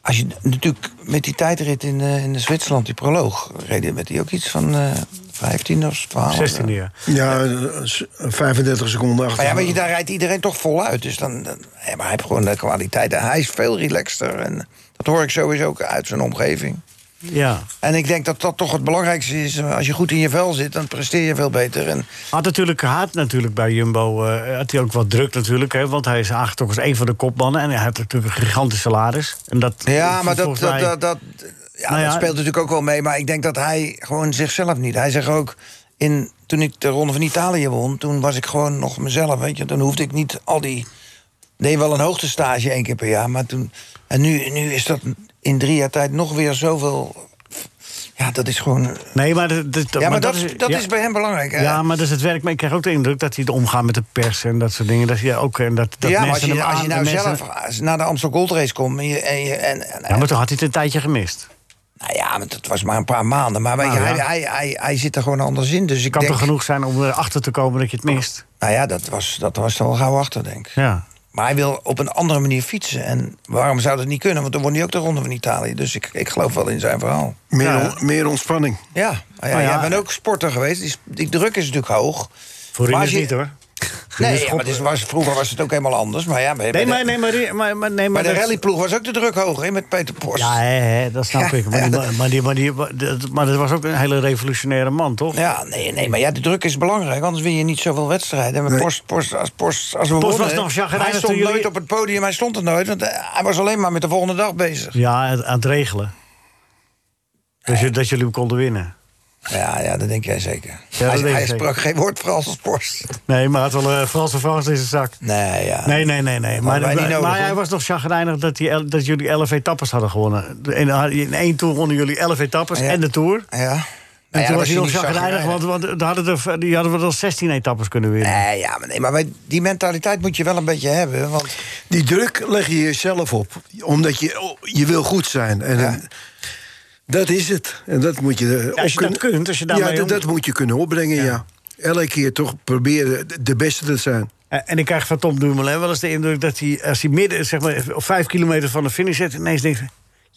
E: als je natuurlijk met die tijdrit in, eh, in Zwitserland, die proloog, reden met die ook iets van eh 15 of 12.
D: 16
E: eh.
D: jaar.
G: Ja, eh, s- 35 seconden achter.
E: Maar ja, weet je, daar rijdt iedereen toch voluit. Dus dan, dan- ja, maar hij heeft gewoon de kwaliteit. En hij is veel relaxter. En dat hoor ik sowieso ook uit zijn omgeving.
D: Ja.
E: En ik denk dat dat toch het belangrijkste is. eh, Als je goed in je vel zit, dan presteer je veel beter. En
D: Had natuurlijk haat natuurlijk bij Jumbo. eh, had hij ook wat druk natuurlijk. Hè, want hij is aangetrokken als een van de kopmannen. En hij had natuurlijk een gigantisch salaris. En dat,
E: Ja, maar dat,
D: volgens
E: dat,
D: mij-
E: dat, dat- ja,
D: Nou ja.
E: dat speelt natuurlijk ook wel mee. Maar ik denk dat hij gewoon zichzelf niet. Hij zegt ook. In, toen ik de Ronde van Italië won, toen was ik gewoon nog mezelf. Weet je, toen hoefde ik niet al die. deed wel een hoogtestage één keer per jaar. Maar toen. En nu, nu is dat in drie jaar tijd nog weer zoveel. Ja, dat is gewoon.
D: Nee, maar, dat, dat-
E: Ja, maar, dat, is, dat
D: ja.
E: is bij hem belangrijk. hè?
D: Ja, maar dat is het werk. Maar ik krijg ook de indruk dat hij de omgaat met de pers en dat soort dingen. Dat hij ook, eh, en dat, dat
E: ja maar als
D: mensen
E: je,
D: hem
E: als je
D: aan-
E: nou
D: mensen-
E: zelf als- naar de Amstel Gold Race komt. en je. En je en, en-
D: Ja, maar toen had hij het een tijdje gemist.
E: nou ja, maar dat was maar een paar maanden. Maar weet
D: Nou
E: je, hij,
D: ja.
E: hij, hij, hij zit er gewoon anders in. Dus ik
D: Kan
E: denk,
D: toch genoeg zijn om erachter te komen dat je het mist?
E: Nou ja, dat was, dat was er wel gauw achter, denk ik.
D: Ja.
E: Maar hij wil op een andere manier fietsen. En waarom zou dat niet kunnen? Want dan won hij ook de Ronde van Italië. Dus ik, ik geloof wel in zijn verhaal.
G: Meer,
D: Ja.
G: on- meer ontspanning.
E: Ja, nou ja,
D: Oh ja.
E: jij bent ook sporter geweest. Die, s- die druk is natuurlijk hoog.
D: Voor
E: Maar
D: u
E: als
D: is
E: je-
D: niet hoor.
E: Nee, ja, maar het is- was, vroeger was het ook helemaal anders. Maar ja, bij, bij
D: Nee, maar,
E: de,
D: nee, maar, maar, maar, nee,
E: bij
D: maar
E: de
D: dat-
E: rallyploeg was ook de druk hoog, hè, met Peter Post.
D: Ja, hè, hè, dat snap
E: Ja,
D: ik. Maar, die,
E: ja, dat-
D: maar, die, maar, die, dat- maar dat was ook een hele revolutionaire man, toch?
E: Ja, nee, nee, maar ja, de druk is belangrijk, anders win je niet zoveel wedstrijden. Maar
G: Nee.
E: Post, Post, als, Post, als we
D: Post
E: wonnen,
D: was nog chagrijnig
E: hij stond
D: toen jullie-
E: nooit op het podium, hij stond er nooit, want eh, hij was alleen maar met de volgende dag bezig.
D: Ja, het- aan het regelen. Dus je- dat jullie hem konden winnen.
E: Ja, ja, dat denk jij zeker.
D: dat
E: hij
D: denk ik
E: hij
D: zeker.
E: sprak geen woord Frans als Post.
D: Nee, maar het had wel eh, Franse Frans in zijn zak.
E: Nee, ja.
D: Nee, nee, nee. nee. Maar,
E: hadden wij niet
D: maar,
E: nodig, hoor.
D: hij was nog chagrijnig dat, die, el- dat jullie 11 etappes hadden gewonnen. In, in één tour wonnen jullie 11 etappes
E: Ja.
D: en de tour. En
E: Ja. Nou
D: toen
E: ja, dat
D: was hij nog
E: niet
D: chagrijnig, want, want daar hadden er, die hadden we dan 16 etappes kunnen winnen.
E: Nee, ja, maar, nee, maar wij- die mentaliteit moet je wel een beetje hebben. Want
G: Die druk leg je jezelf op. Omdat je, oh, je wil goed zijn. En
E: Ja.
G: eh, dat is het. En dat moet je. eh, op
D: als je dat
G: kunnen-
D: kunt, als je daarmee
G: Ja, dat, dat
D: om-
G: moet je kunnen opbrengen, ja. Elke keer toch proberen de beste te zijn.
D: En Eh, en ik krijg van Tom Dumoulin wel eens de indruk dat hij, als hij midden, zeg maar, op vijf kilometer van de finish zit, ineens denkt: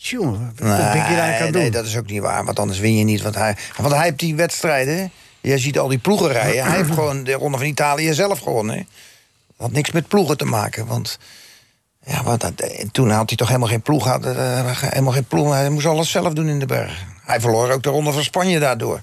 D: Jongen, wat ben ik hier eigenlijk aan
E: nee,
D: het doen?
E: nee, dat is ook niet waar, want anders win je niet. Want hij, want hij heeft die wedstrijden, jij ziet al die ploegen rijden. Hij heeft gewoon de Ronde van Italië zelf gewonnen. hè. Dat had niks met ploegen te maken, want... Ja, want dat- eh, toen had hij toch helemaal geen ploeg. Had, eh, helemaal geen ploeg. Hij moest alles zelf doen in de berg. Hij verloor ook de Ronde van Spanje daardoor.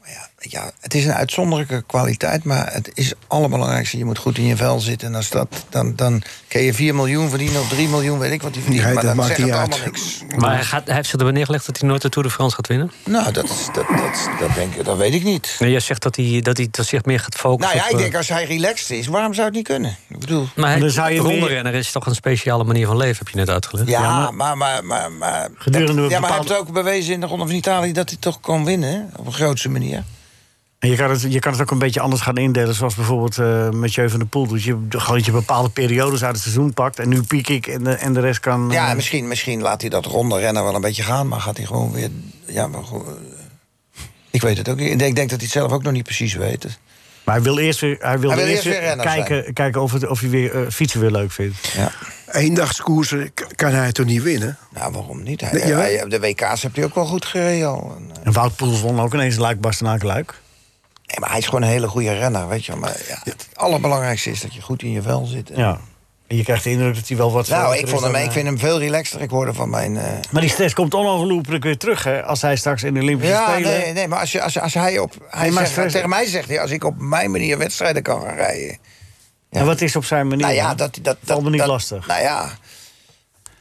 E: Maar ja, ja, het is een uitzonderlijke kwaliteit, maar het is het allerbelangrijkste. Je moet goed in je vel zitten. En als dat, dan, dan kun je 4 miljoen verdienen of 3 miljoen, weet ik wat hij verdient.
G: Nee,
E: maar
G: dat
E: dat
G: maakt
E: zegt
G: niet
E: allemaal
G: uit.
E: niks.
F: Maar hij, gaat, hij heeft zich erbij neergelegd dat hij nooit de Tour de France gaat winnen.
E: Nou, dat, is- dat, dat, dat, denk, ik- dat weet ik niet.
F: Nee, jij zegt dat hij, dat hij, dat zich meer gaat focussen.
E: Nou ja,
F: op,
E: ik
F: eh,
E: denk als hij relaxed is, waarom zou het niet kunnen? Ik bedoel,
F: Maar hij,
D: dan zou je meer-
F: rondrenner is toch een speciale manier van leven, heb je net uitgelegd.
E: ja,
D: maar-
E: maar, maar, maar, maar,
D: Gedurende een
E: Ja, maar hij
D: bepaalde-
E: heeft ook bewezen in de Ronde van Italië dat hij toch kan winnen, hè, op een grootse manier.
D: En je kan, het, je kan het ook een beetje anders gaan indelen. Zoals bijvoorbeeld eh Mathieu van der Poel. Dus je, gewoon dat je bepaalde periodes uit het seizoen pakt. En nu piek ik en de, en de rest kan...
E: Ja,
D: eh,
E: misschien, misschien laat hij dat ronde rennen wel een beetje gaan, maar gaat hij gewoon weer. Ja, maar goed. eh, Ik weet het ook niet. Ik denk, ik denk dat hij het zelf ook nog niet precies weet. Dus-
D: Maar hij wil eerst weer, hij wil
E: Hij wil
D: eerst
E: eerst
D: weer
E: weer renner
D: kijken, kijken of, het, of hij weer eh, fietsen weer leuk vindt.
E: Ja.
G: Eendagskoersen k- kan hij toch niet winnen?
E: Nou, waarom niet? Hij,
G: Nee, ja.
E: hij- de WK's heeft hij ook wel goed gereden al. En, eh,
D: En Wout Poels won ook ineens Luik Bastenaken Luik.
E: nee, maar hij is gewoon een hele goede renner, weet je. wel. Maar ja, het allerbelangrijkste is dat je goed in je vel zit.
D: Ja. En je krijgt de indruk dat hij wel wat...
E: Nou,
D: verder
E: ik,
D: is
E: vond hem,
D: dan,
E: ik
D: eh,
E: vind hem veel relaxter. Ik hoorde van mijn... eh,
D: Maar die stress komt onafgelopen weer terug, hè? Als hij straks in de Olympische
E: Ja,
D: Spelen...
E: nee, nee, maar als, je, als, als hij, op, hij
D: maar
E: zegt-
D: stress-
E: tegen mij zegt... hij, als ik op mijn manier wedstrijden kan gaan rijden...
D: En wat is op zijn manier?
E: Nou ja,
D: hè?
E: dat... dat, dat
D: Valt me niet
E: dat-
D: lastig.
E: Nou ja...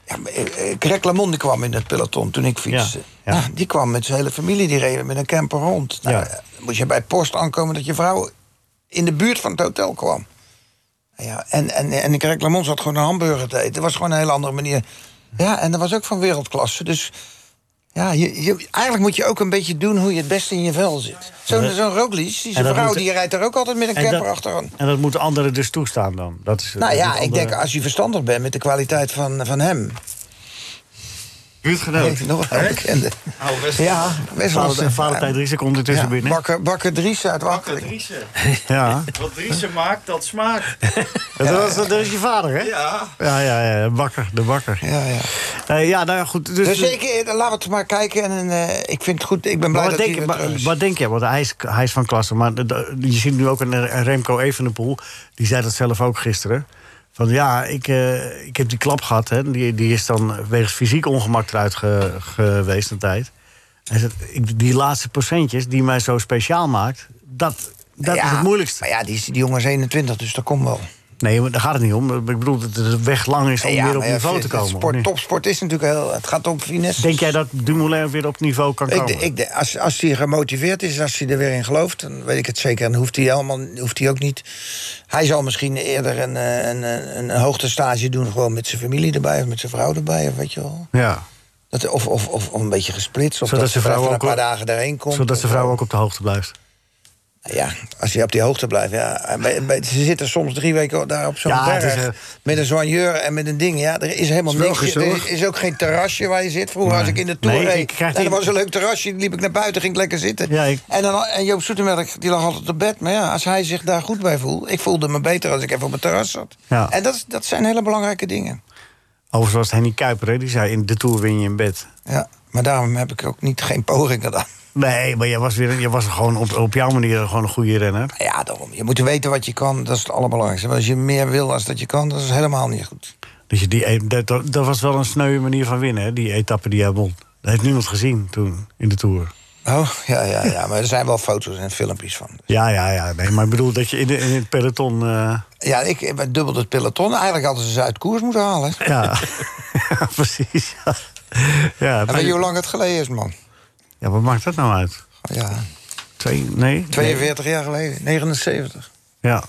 E: ja maar, eh, eh, Greg LeMond die kwam in het peloton toen ik fietste.
D: Ja, ja.
E: Nou, die kwam met zijn hele familie, die reden met een camper rond. Nou,
D: Ja.
E: eh, dan moest je bij post aankomen dat je vrouw in de buurt van het hotel kwam. Nou Ja, en, en, en Greg LeMond zat gewoon een hamburger te eten. Dat was gewoon een hele andere manier. Ja, en dat was ook van wereldklasse. Dus ja, je, je- eigenlijk moet je ook een beetje doen hoe je het beste in je vel zit. Zo'n zo'n Roglic, die
D: En
E: zijn
D: dat
E: vrouw,
D: moet-
E: die rijdt er ook altijd met een
D: en,
E: camper
D: dat,
E: achteraan.
D: en dat moeten anderen dus toestaan dan. Dat is, eh,
E: Nou
D: dat
E: ja,
D: moet
E: ik
D: anderen-
E: denk als je verstandig bent met de kwaliteit van, van hem.
D: Buurtgenoot.
E: Heeft nog wel een bekende. Ja, best wel.
D: Valentijn- Valentijn Driessen komt ertussen
E: Ja,
D: binnen.
E: Bakker, bakker Driessen uit Wakkering.
H: Driessen.
D: Ja.
H: Wat Driessen maakt, dat smaakt.
D: Dat, was, dat is je vader, hè?
H: Ja.
D: Ja, ja, ja, bakker, de bakker.
E: Ja, ja.
D: Eh, ja, nou ja, goed. Dus,
E: Dus ik, eh, laten we het maar kijken. En, eh, ik vind het goed. Ik ben blij
D: Maar
E: dat
D: wat,
E: hij
D: denk,
E: weer
D: maar-
E: terug is. dus.
D: wat denk je? Want hij is, hij is van klasse. Maar de- de- je ziet nu ook een, een Remco Evenepoel. Die zei dat zelf ook gisteren. Van ja, ik, eh, ik heb die klap gehad. Hè. Die, die is dan wegens fysiek ongemak eruit ge- geweest een tijd. Hij zegt, ik, die laatste procentjes die mij zo speciaal maakt... dat, dat
E: Ja,
D: is het moeilijkste.
E: Maar ja, die, is- die jongen is 21, dus dat komt wel.
D: Nee, maar daar gaat het niet om. Ik bedoel dat de weg lang is om
E: Ja,
D: weer op
E: maar ja,
D: niveau te
E: het
D: komen.
E: Sport,
D: Nee.
E: topsport is natuurlijk heel... Het gaat om finesse.
D: Denk jij dat Dumoulin weer op niveau kan
E: Ik,
D: komen?
E: de- ik, de- als, als hij gemotiveerd is, als hij er weer in gelooft, dan weet ik het zeker. En hoeft hij, helemaal, hoeft hij ook niet. Hij zal misschien eerder een, eh, een, een, een hoogtestage doen, gewoon met zijn familie erbij of met zijn vrouw erbij, of weet je wel.
D: ja,
E: Dat, of, of, of, of een beetje gesplitst. Of
D: Zodat
E: dat
D: zijn
E: ze
D: vrouw
E: vrouw een
D: ook
E: paar
D: wel-
E: dagen erheen komt.
D: zodat zijn
E: Of-
D: vrouw ook op de hoogte blijft.
E: Nou Ja, als hij op die hoogte blijft. Ja. Bij- bij- ze zitten soms drie weken daar op zo'n
D: Ja, het
E: berg.
D: is, eh,
E: met een soigneur en met een ding. Ja, er is helemaal
G: is wel
E: niks.
G: gezellig.
E: Er is ook geen terrasje waar je zit. Vroeger als ik in de Tour
D: Nee, ik
E: reed,
D: krijg
E: nou,
D: die-
E: er was een leuk terrasje. liep ik naar buiten, ging ik lekker zitten.
D: Ja, ik-
E: En, dan, en Joop Soetemelk, die lag altijd op bed. Maar ja, als hij zich daar goed bij voelt... Ik voelde me beter als ik even op het terras zat.
D: Ja.
E: En dat, is- dat zijn hele belangrijke dingen.
D: Overigens was het Henny Kuiper, hè, die zei... in de Tour win je in bed.
E: Ja, maar daarom heb ik ook niet geen poging gedaan.
D: Nee, maar jij was, weer, jij was gewoon op, op jouw manier gewoon een goede renner.
E: Ja, daarom. Je moet weten wat je kan. Dat is het allerbelangrijkste. Maar als je meer wil dan dat je kan, dat is helemaal niet goed.
D: Dus je die, dat, dat dat was wel een sneuwe manier van winnen, hè, die etappe die hij won. Dat heeft niemand gezien toen in de Tour.
E: Oh, ja, ja, ja. Maar er zijn wel foto's en filmpjes van.
D: Ja, ja, ja. Nee, maar ik bedoel dat je in, de, in het peloton... eh,
E: Ja, ik eh, bij dubbel het peloton. Eigenlijk hadden ze ze uit koers moeten halen.
D: ja. ja, precies. Ja. Ja,
E: En weet je hoe lang het geleden is, man?
D: ja, wat maakt dat nou uit?
E: Ja,
D: Twee, nee?
E: 42 jaar geleden. 79.
D: Ja.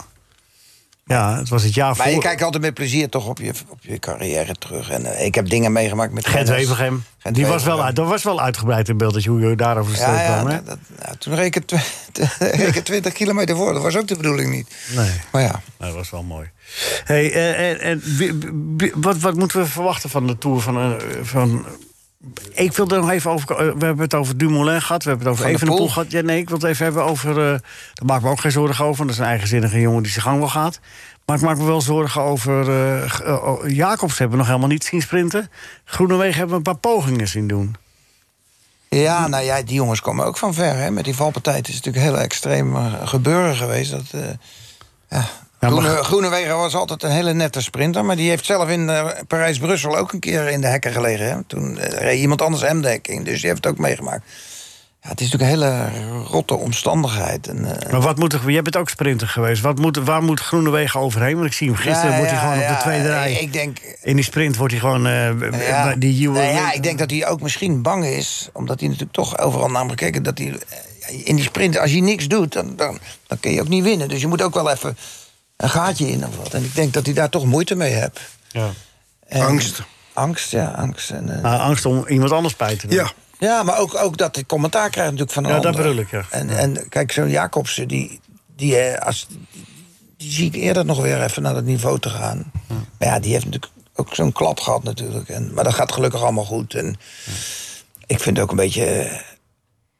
D: Ja, het was het jaar
E: Maar
D: voor...
E: je kijkt altijd met plezier toch op je, op je carrière terug. En eh, ik heb dingen meegemaakt met...
D: Gent
E: renners.
D: Wevergem.
E: Gent
D: Die was wel,
E: Wevergem.
D: uit- dat was wel uitgebreid in beeld, dat je, hoe je daarover de streep
E: Ja, ja,
D: kwam, hè?
E: dat, dat- nou, toen reed ik, het tw- reed ik het 20 kilometer voor. Dat was ook de bedoeling niet.
D: Nee.
E: Maar ja,
D: Nou, dat was wel mooi. Hey, eh, en, en wie- wie- wat, wat moeten we verwachten van de Tour? Van, eh, van, ik wil er nog even over... eh, We hebben het over Dumoulin gehad, we hebben het over
E: Van der
D: Evenepoel
E: Poel.
D: gehad. Ja, nee, ik wil het even hebben over... eh daar maak ik me ook geen zorgen over, want dat is een eigenzinnige jongen die zijn gang wel gaat. Maar ik maak me wel zorgen over... eh, g- eh, oh, Jacobs hebben we nog helemaal niet zien sprinten. Groenewegen hebben we een paar pogingen zien doen.
E: Ja, nou ja, die jongens komen ook van ver. Hè? Met die valpartij het is het natuurlijk heel extreem eh, gebeuren geweest. Dat, eh, ja.
D: Ja, maar-
E: Groene, Groenewegen was altijd een hele nette sprinter. Maar die heeft zelf in eh, Parijs-Brussel ook een keer in de hekken gelegen. Hè? Toen eh, reed iemand anders hem de hek in. Dus die heeft het ook meegemaakt. Ja, het is natuurlijk een hele rotte omstandigheid. En, eh,
D: Maar wat moet er... Jij bent ook sprinter geweest. Wat moet, waar moet Groenewegen overheen? Want ik zie hem gisteren,
E: ja,
D: wordt hij
E: ja,
D: gewoon op
E: ja,
D: de tweede rij...
E: Ik, ik denk,
D: In die sprint wordt hij gewoon eh,
E: Ja.
D: die Juwe.
E: Nou ja, ik denk dat hij ook misschien bang is. Omdat hij natuurlijk toch overal naar hem gekeken. Dat hij eh, in die sprint, als je niks doet, dan, dan, dan kun je ook niet winnen. Dus je moet ook wel even een gaatje in of wat. En ik denk dat hij daar toch moeite mee hebt.
D: Ja.
E: En-
G: Angst.
E: Angst, ja, angst. En, eh,
D: Ah, angst om iemand anders bij te doen.
G: Ja,
E: Ja, maar ook, ook dat ik commentaar krijg natuurlijk van de
D: Ja, dat
E: anderen.
D: bedoel ik, ja.
E: En, en kijk, zo'n Jacobsen, die, die, eh, als, die zie ik eerder nog weer even naar dat niveau te gaan. Maar ja, die heeft natuurlijk ook zo'n klap gehad natuurlijk. En, maar dat gaat gelukkig allemaal goed. En ik vind ook een beetje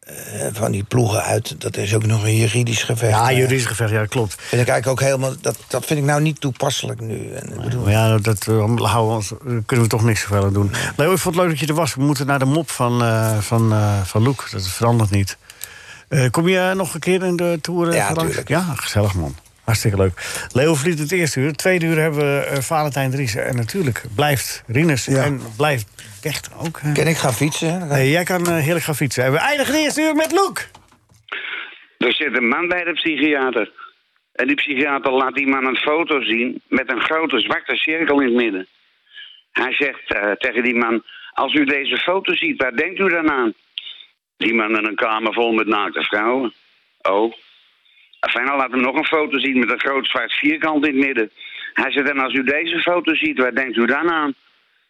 E: eh, eh, van die ploegen uit... dat is ook nog een juridisch gevecht.
D: Ja,
E: Eh,
D: juridisch gevecht, ja, klopt.
E: Vind ik eigenlijk ook helemaal... Dat, dat vind ik nou niet toepasselijk nu. En, ik bedoel,
D: Maar ja, dat eh, houden we ons, eh, kunnen we toch niks zoveel aan doen. Leo, ik vond het leuk dat je er was. We moeten naar de mop van, eh van, eh, van Loek. Dat verandert niet. Eh, kom je eh, nog een keer in de tour? eh,
E: Ja,
D: langs?
E: tuurlijk.
D: Ja, gezellig man. Hartstikke leuk. Leo verliet het eerste uur. Het tweede uur hebben we eh, Valentijn Driessen. En natuurlijk blijft Rinus.
G: Ja.
D: En blijft Pecht ook. hè.
E: kan ik gaan fietsen? Dan ga ik-
D: Nee, jij kan eh, heerlijk gaan fietsen. En we eindigen het eerste uur met Loek.
I: Er zit een man bij de psychiater. En die psychiater laat die man een foto zien met een grote zwarte cirkel in het midden. Hij zegt eh, tegen die man, als u deze foto ziet, waar denkt u dan aan? Die man in een kamer vol met naakte vrouwen. Oh. Enfin, hij laat hem nog een foto zien met een groot zwart vierkant in het midden. Hij zegt, en als u deze foto ziet, waar denkt u dan aan?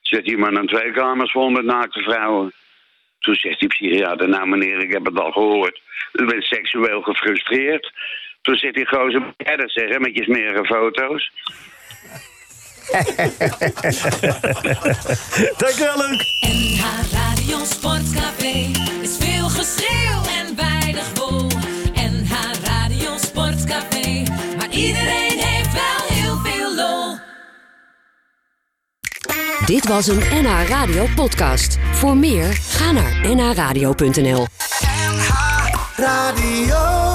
I: Zegt die man aan twee kamers vol met naakte vrouwen. Toen zegt die psychiater, nou meneer, ik heb het al gehoord. U bent seksueel gefrustreerd. Toen zegt die gozer, moet jij dat zeggen met je smerige foto's?
D: Dankjewel, Loek.
A: NH Radio Sportcafé is veel geschreeuw en weinig wol. NH Radio Sportcafé, maar iedereen heeft wel heel veel lol.
J: Dit was een NH Radio podcast. Voor meer, ga naar nhradio.nl.
B: Radio.